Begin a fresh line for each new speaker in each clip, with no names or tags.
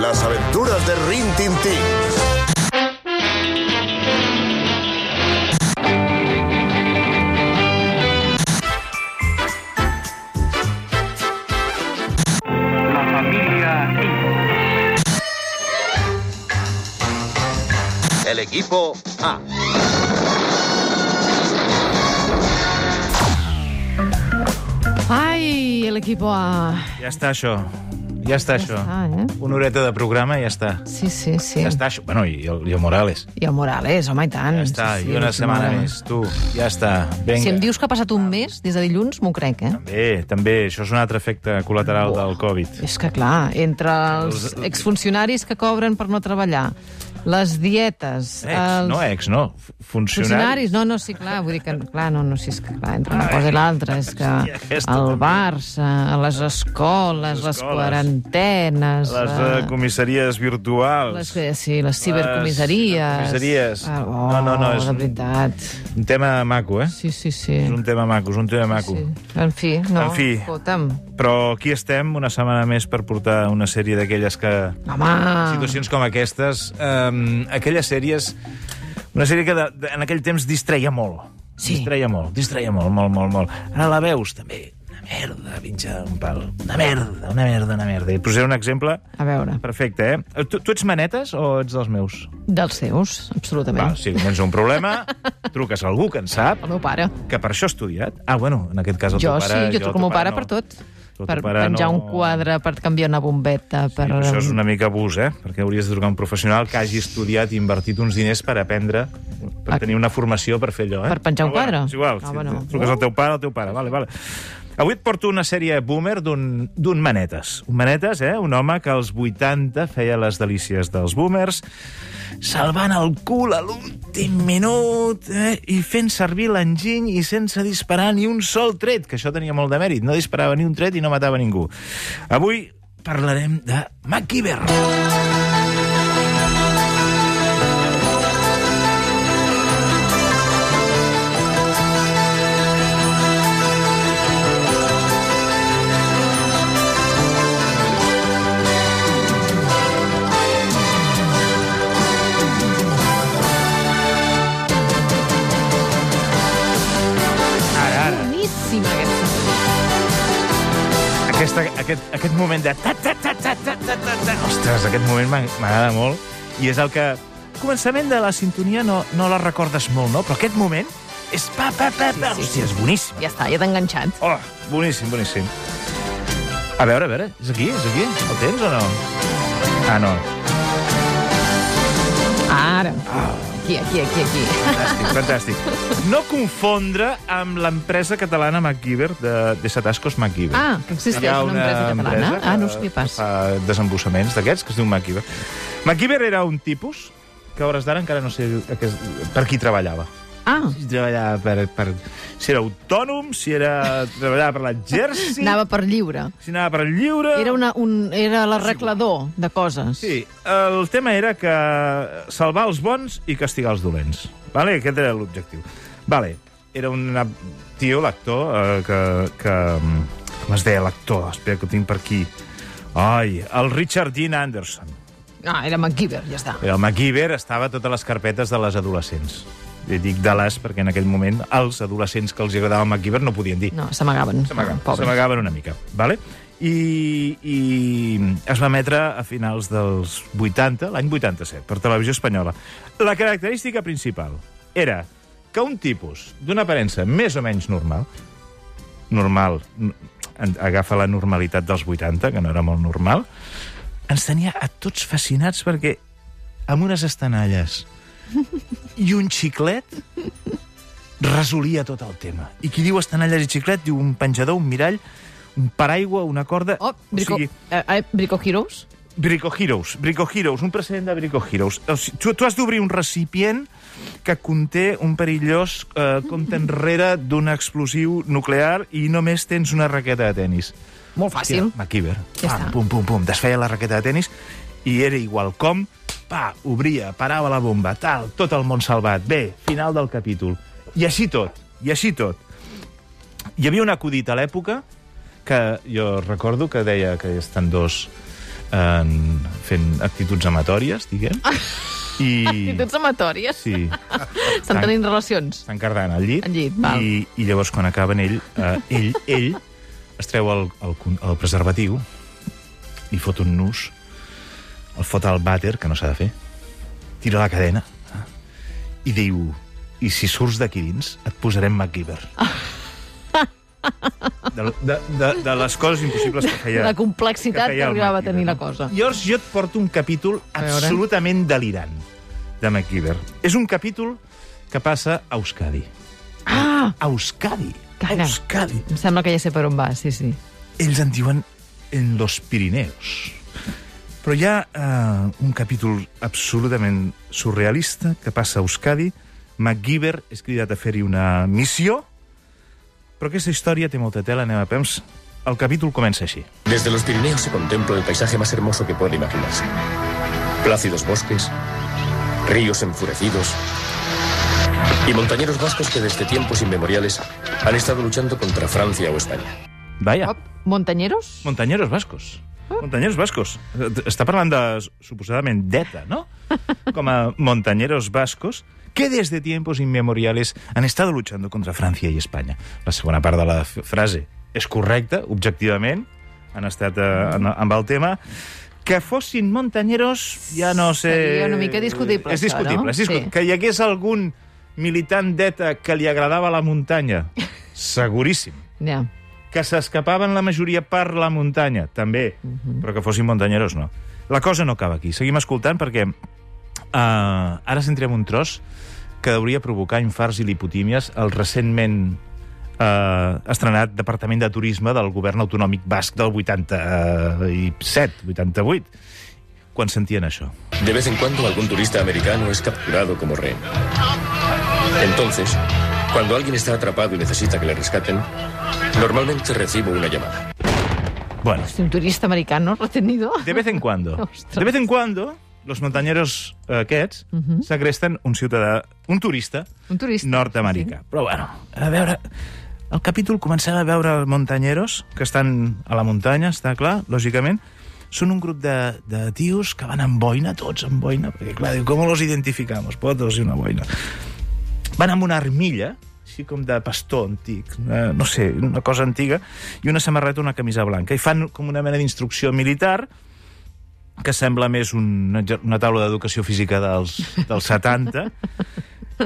Las aventuras de Rin Tin Tin.
La familia
El equipo A.
Ai, l'equipo A...
Ja està, això. Ja està, això.
Ah, eh?
Una horeta de programa i ja està.
Sí, sí, sí.
Ja està, això. Bueno, i el, i el Morales.
I el Morales, home, i tant.
Ja està,
Sí, sí,
i una
sí,
setmana
mare.
més. Tu, ja està. Vinga.
Si em dius que ha passat un mes, des de dilluns, m'ho crec, eh?
Bé, també, això és un altre efecte col·lateral del Covid.
És que, clar, entre els
Els-
exfuncionaris que cobren per no treballar, les dietes...
Ex, Eh, no ex, no. F-
eh, Funcionaris,
Funcionaris.
no, no, sí, clar, vull dir que, clar, no, no, sí, és que, clar, entre una cosa i l'altra, és que
Hòstia, aquesta
el
també.
Barça, les escoles, les
escoles.
quarantenes...
Les eh, comissaries virtuals.
Ah. les, que- sí, les cibercomissaries...
cibercomissaries.
Ah, oh,
No, no, no, és
De
un-
veritat.
Un tema maco, eh?
Sí, sí, sí.
És un tema maco, és un tema maco.
sí. En fi, no,
En fi.
escolta'm.
Però aquí estem una setmana més per portar una sèrie d'aquelles que...
Home...
situacions com aquestes, um, aquelles sèries... Una sèrie que de, de, en aquell temps distreia molt.
Sí.
Distreia molt, distreia molt, molt, molt, molt. Ara la veus, també. Una merda, pinxa un pal. Una merda, una merda, una merda. I et posaré un exemple
A veure,
perfecte, eh? Tu, tu ets manetes o ets dels meus?
dels seus, absolutament.
Va, si comença un problema, truques a algú que en sap,
El meu pare.
que per això ha estudiat. Ah, bueno, en aquest cas el
Jo
teu
sí,
pare...
jo
el
truco al
teu
meu pare
no.
per tot.
Tu, el
Per
teu pare
penjar
no-
un quadre, per canviar una bombeta, per...
Sí, però això és una mica abús, eh? Perquè hauries de trucar a un professional que hagi estudiat i invertit uns diners per aprendre, per
Ah.
tenir una formació per fer allò, eh?
Per penjar un
Però
quadre?
Bueno, és igual,
Ah,
si
bueno.
bueno. truques al teu pare, al teu pare, vale, vale. Avui et porto una sèrie boomer d'un d'un Manetes. Un Manetes, eh? Un home que als 80 feia les delícies dels boomers, salvant el cul a l'últim minut eh? i fent servir l'enginy i sense disparar ni un sol tret, que això tenia molt de mèrit. No disparava ni un tret i no matava ningú. Avui parlarem de MacGyver. Ara, ara.
Boníssima, aquesta.
Aquesta, aquest, aquest moment de... Ta, ta, ta, ta, ta, ta, ta, ta. Ostres, aquest moment m'ag- m'agrada molt. I és el que... Començament de la sintonia no, no la recordes molt, no? Però aquest moment és pa, pa, pa, pa.
Sí, sí, sí.
Sí, sí, Hòstia, és boníssim.
Ja està, ja t'he enganxat.
Oh, boníssim, boníssim. A veure, a veure, és aquí, és aquí? El tens o no? Ah, no.
Ara. Aquí, aquí, aquí, aquí.
Fantàstic, fantàstic. No confondre amb l'empresa catalana MacGyver, de, de Satascos MacGyver.
Ah, que existeix
Hi ha
una empresa catalana?
que-
Ah, no sé què passa.
que Fa desembossaments d'aquests, que es diu MacGyver. MacGyver era un tipus que a hores d'ara encara no sé a què es- per qui treballava.
Ah,
Si treballava per, per... Si era autònom, si era... treballava per l'exèrcit,
anava per lliure.
si anava per lliure...
Era, una, un, era l'arreglador de coses.
Sí, el tema era que salvar els bons i castigar els dolents. Vale? Aquest era l'objectiu. Vale. Era un tio, l'actor, eh, que, que... mm, Com es deia l'actor? Espera, que ho tinc per aquí. Ai, el Richard Dean Anderson.
Ah, era MacGyver, ja està.
El MacGyver estava a totes les carpetes de les adolescents. I dic de les perquè en aquell moment els adolescents que els agradava MacGyver no podien dir.
No, s'amagaven.
S'amagaven,
Pobres.
S'amagaven una mica, vale? I, I es va emetre a finals dels 80, l'any 87, per televisió espanyola. La característica principal era que un tipus d'una aparença més o menys normal, normal, n- en- agafa la normalitat dels 80, que no era molt normal, ens tenia a tots fascinats perquè amb unes estanalles i un xiclet resolia tot el tema. I qui diu estanalles i xiclet diu un penjador, un mirall, un paraigua, una corda...
Oh, Brico,
O sigui,
eh, eh, Brico Heroes?
Brico Heroes, Brico Heroes, un precedent de Brico Heroes. O sigui, tu, tu has d'obrir un recipient que conté un perillós eh, compte enrere d'un explosiu nuclear i només tens una raqueta de tennis.
Molt fàcil.
Hòstia, MacGyver.
Ja
pam,
està.
pum, pum, pum, desfeia la raqueta de tennis i era igual com, pa, obria, parava la bomba, tal, tot el món salvat, bé, final del capítol. I així tot, i així tot. Hi havia un acudit a l'època que jo recordo que deia que estan dos en, fent actituds amatòries, diguem. I...
Actituds amatòries?
Sí,
Estan tenint relacions?
estan cardant al llit.
Al llit, val.
I, I llavors, quan acaben ell, eh, ell, ell es treu el, el, con- el preservatiu i fot un nus, el fot al vàter, que no s'ha de fer, tira la cadena eh, i diu i si surts d'aquí dins, et posarem MacGyver. De, de, de, de les coses impossibles que feia...
La complexitat
que
que
feia el
arribava a
MacGyver,
tenir la
no?
cosa.
Llavors jo et porto un capítol
A veure.
absolutament delirant de MacGyver. És un capítol que passa a Euskadi.
Ah!
A Euskadi.
Cara.
A Euskadi.
Em sembla que ja sé per on va, sí, sí.
Ells en diuen en los Pirineus. Però hi ha eh, un capítol absolutament surrealista que passa a Euskadi. MacGyver és cridat a fer-hi una missió, però aquesta història té molta tela, anem a pems. El capítol comença així.
Desde los Pirineos se contempla el paisaje más hermoso que puede imaginarse. Plácidos bosques, ríos enfurecidos y montañeros vascos que desde tiempos inmemoriales han estado luchando contra Francia o España.
Vaya.
Op, Montanyeros?
Montañeros vascos.
Ah.
Montañeros vascos. Està parlant de, suposadament, d'ETA, no? Com a montañeros vascos que des de tiempos inmemoriales han estado luchando contra Francia i Espanya. La segona part de la f- frase és correcta, objectivament, han estat eh, en, amb el tema. Que fossin montañeros, ja no sé...
Seria una mica discutible,
És
això,
discutible.
no?
És
Sí.
discutible. Que hi hagués algun militant d'ETA que li agradava la muntanya, seguríssim
Ja.
que s'escapaven la majoria per la muntanya, també, però que fossin muntanyeros, no. La cosa no acaba aquí. Seguim escoltant perquè uh, ara sentirem un tros que hauria provocar infarts i lipotímies al recentment uh, estrenat Departament de Turisme del govern autonòmic basc del 87, 88, quan sentien això.
De vez en cuando algún turista americano es capturado como rehén. Entonces, cuando alguien está atrapado y necesita que le rescaten, normalmente recibo una llamada.
Bueno,
Si un turista americano retenido...
De vez en cuando.
Ostres.
De vez en cuando, los montañeros eh, aquests uh -huh. segresten un ciutadà, un turista,
Un turista,
nord-americà. Sí. Però bueno, a veure... El capítol començarà a veure montanyeros que estan a la muntanya, està clar, lògicament. Són un grup de, de tios que van amb boina, tots amb boina, perquè clar, diu, com los identificamos? Potos i una boina van amb una armilla, així com de pastor antic, una, no sé, una cosa antiga, i una samarreta, una camisa blanca. I fan com una mena d'instrucció militar que sembla més un, una taula d'educació física dels, dels 70,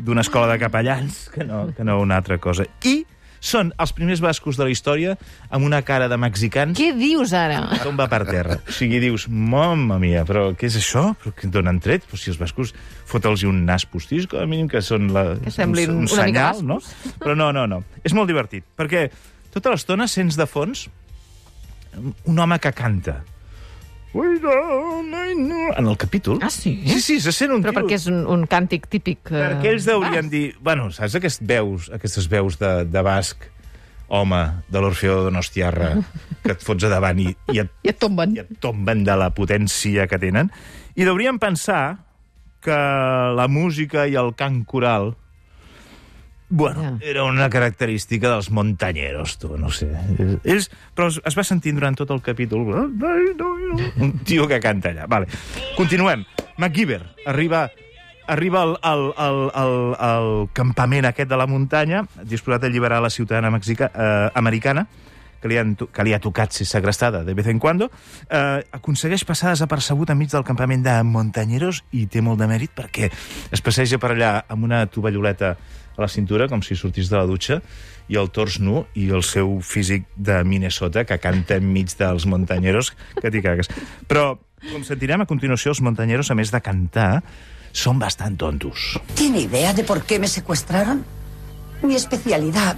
d'una escola de capellans, que no, que no una altra cosa. I són els primers bascos de la història amb una cara de mexicans
Què dius ara?
tomba per terra. O sigui, dius, mamma mia, però què és això? Però què d'on han tret? Però si els bascos fota'ls un nas postís, com a mínim que són la,
Que semblin
un, un
una mica
senyal, no? Però no, no, no. És molt divertit, perquè tota l'estona sents de fons un home que canta. Wait on, I know. En el capítol.
Ah, sí?
Sí, sí, se sent un
Però
tio...
perquè és un, un càntic típic... Eh...
Perquè ells deurien dir... Bueno, saps aquest veus, aquestes veus de, de basc, home, de l'Orfeo de Donostiarra, que et fots a davant i, i et
I et tomben.
i et tomben de la potència que tenen. I deurien pensar que la música i el cant coral Bueno,
Ja.
era una característica dels montanyeros, tu, no sé. Ells, però es, es va sentir durant tot el capítol un tio que canta allà. Vale. Continuem. MacGyver arriba, arriba al, al, al, al, al campament aquest de la muntanya, disposat a alliberar la ciutadana mexica, eh, americana, que li, han, to- que li ha tocat ser segrestada de vez en cuando, eh, aconsegueix passar desapercebut enmig del campament de Montanyeros i té molt de mèrit perquè es passeja per allà amb una tovalloleta a la cintura, com si sortís de la dutxa, i el tors nu i el seu físic de Minnesota que canta enmig dels montanyeros que t'hi cagues. Però, com sentirem a continuació, els montanyeros, a més de cantar, són bastant tontos.
¿Tiene idea de por qué me secuestraron? Mi especialidad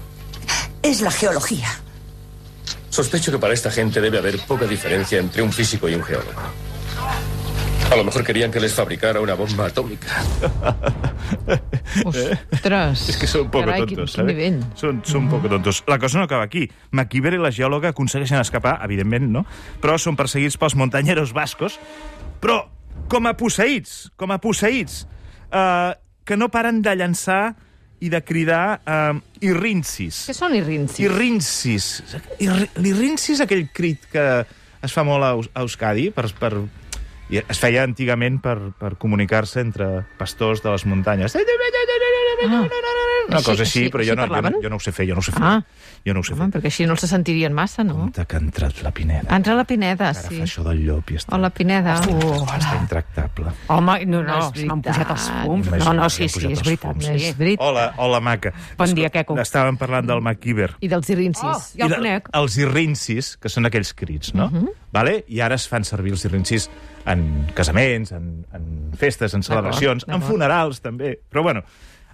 es la geología.
Sospecho que para esta gente debe haber poca diferencia entre un físico y un geólogo. A lo mejor querían que les fabricara una bomba atómica.
Ostres.
És que són poc
Carai, quin,
tontos,
quin
¿sabes?
nivell. Mm.
Són, són poc tontos. La cosa no acaba aquí. MacGyver i la geòloga aconsegueixen escapar, evidentment, no? Però són perseguits pels montanyeros bascos. Però com a posseïts, com a posseïts, eh, que no paren de llançar i de cridar eh, irrincis.
Què són irrincis?
Irrincis. Irri- L'irrincis és aquell crit que es fa molt a, Eus- a Euskadi per, per, i es feia antigament per, per comunicar-se entre pastors de les muntanyes. Una
Així-
cosa així,
així-
però jo
així
no, jo, no,
parlaven?
jo no ho sé fer, jo no ho sé fer.
Ah.
Jo no ho sé
Home,
fer.
perquè així no els sentirien massa, no?
Compte que ha entrat la Pineda.
Entra la Pineda,
Ara
sí.
fa això del llop i està,
Hola, Pineda.
està intractable.
Home, Eh, no, no,
No és
no m'han
veritat.
pujat els fums.
Imagina't,
No, no,
li
sí,
han
sí,
pujat
és
els
veritat.
fums. Oh.
Sí.
És veritat.
Hola, hola, maca.
Bon dia, Queco.
Estàvem parlant del MacGyver.
I dels irrincis.
Ja
I
el
de-
conec.
Els irrincis, que són aquells crits, no? vale? I ara es fan servir els irrincis en casaments, en, en festes, en celebracions, en
d'acord.
funerals, també. Però, bueno,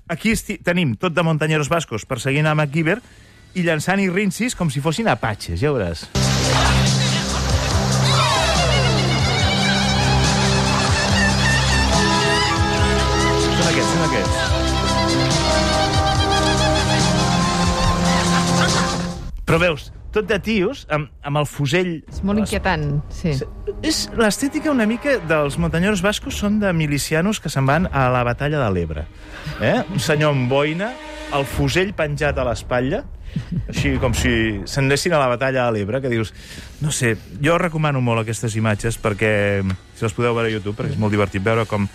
aquí esti- tenim tot de montanyeros bascos perseguint a MacGyver i llançant irrincis com si fossin apatxes, ja veuràs. Són aquests, són aquests. Però veus, tot de tios, amb, amb el fusell...
És molt inquietant, sí.
És l'estètica una mica dels muntanyors bascos són de milicianos que se'n van a la batalla de l'Ebre. Eh? Un senyor amb boina, el fusell penjat a l'espatlla, així com si se'n anessin a la batalla de l'Ebre, que dius... No sé, jo recomano molt aquestes imatges perquè, si les podeu veure a YouTube, perquè és molt divertit veure com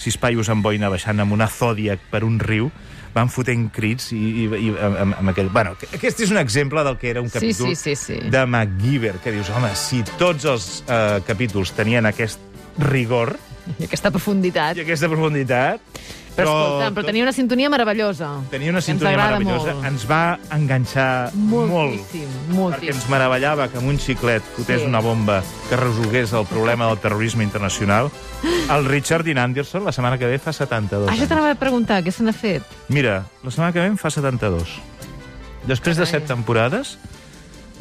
sis paios amb boina baixant amb una zòdiac per un riu van fotent crits i, i, i amb, amb- amb aquell... Bueno, aquest és un exemple del que era un
Sí,
capítol
sí, sí, sí.
de MacGyver, que dius, home, si tots els eh, capítols tenien aquest rigor
I aquesta profunditat.
i aquesta profunditat...
Però, escolta, però
tot-
tenia una sintonia meravellosa.
tenia una
que ens
sintonia
agrada
meravellosa.
molt.
Ens va enganxar
Moltíssim,
molt. Perquè
moltíssim.
ens meravellava que amb un xiclet fotés
Sí.
una bomba que resolgués el problema del terrorisme internacional. El Richard Dean Anderson la setmana que ve fa 72
Ah, Això
anys.
t'anava a preguntar, què se n'ha fet?
Mira, la setmana que ve en fa 72. Després de set temporades,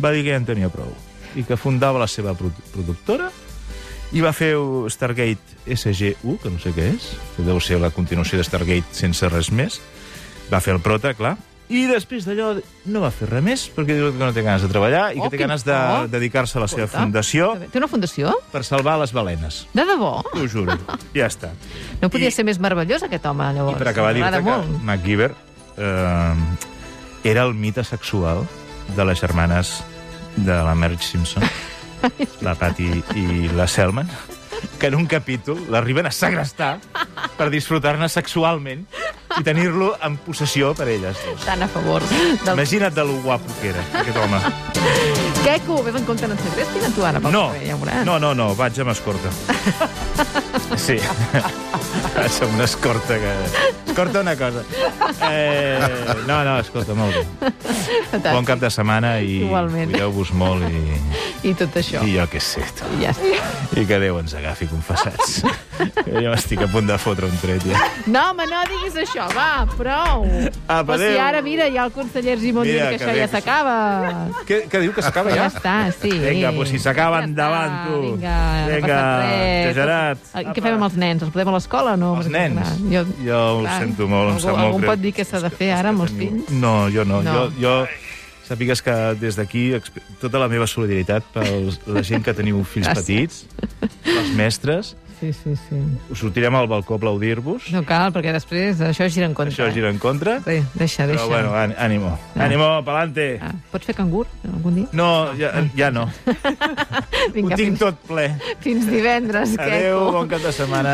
va dir que ja en tenia prou i que fundava la seva produ- productora i va fer Stargate SG-1, que no sé què és, que deu ser la continuació de Stargate sense res més. Va fer el prota, clar. I després d'allò no va fer res més perquè diu que no té ganes de treballar i
Oh,
que té
quin
ganes de
por.
dedicar-se a la seva
Escolta,
fundació
Té una fundació?
per salvar les balenes.
De debò?
T'ho juro. Ja està.
No podia
I-
ser més meravellós, aquest home,
I
llavors.
per acabar dir-te
M'agrada
que
molt.
MacGyver eh, era el mite sexual de les germanes de la Marge Simpson, la Patty i la Selma, que en un capítol l'arriben a segrestar per disfrutar-ne sexualment i tenir-lo en possessió per elles.
Tan a favor del...
Imagina't de lo guapo que era, aquest home.
Queco, vés en compte, no et segrestin a tu ara pel
No,
carrer, ja ho veuràs.
no, no, no, vaig amb escorta. Sí, vaig amb una escorta que... Escorta una cosa. Eh, no, no, escolta, molt bé.
Fantàstic.
Bon cap de setmana i
Igualment.
cuideu-vos molt i,
I tot això.
i jo què sé. tu.
I ja està.
I que Déu ens agafi confessats. Que jo estic a punt de fotre un tret, ja.
No, home, no diguis això, va, prou.
Apa,
Però si
adéu.
ara, mira, ja el conseller Argimon
Mira,
diu que,
que
això
bé
ja
que sí.
s'acaba.
Què, què diu, que s'acaba
Ja
ja?
està, sí.
Vinga, pues si s'acaba,
Ja està,
endavant, tu.
Vinga, no
Vinga,
passa res.
Gerard.
Eh,
Apa.
Què fem amb els nens? Els podem a l'escola o no?
Els
Perquè,
nens?
clar,
Jo, jo ho sento molt, em
algú,
sap molt
algú
greu.
pot dir què s'ha de fer ara amb els fills?
No, jo
No.
no. no. Jo, jo sàpigues que des d'aquí exp- tota la meva solidaritat per la gent que teniu fills
Gràcies.
petits, els mestres,
Sí, sí, sí.
us sortirem al balcó a aplaudir-vos.
No cal, perquè després això gira en contra.
Això gira en contra.
Bé, deixa, deixa.
Però bueno, àni- ànimo. Ànimo, pa'lante.
Ah, pots fer cangur algun dia?
No, ja, ja no. Ho
Vinga,
tinc
fins,
tot ple.
fins divendres.
Adéu,
Queco.
bon cap de setmana.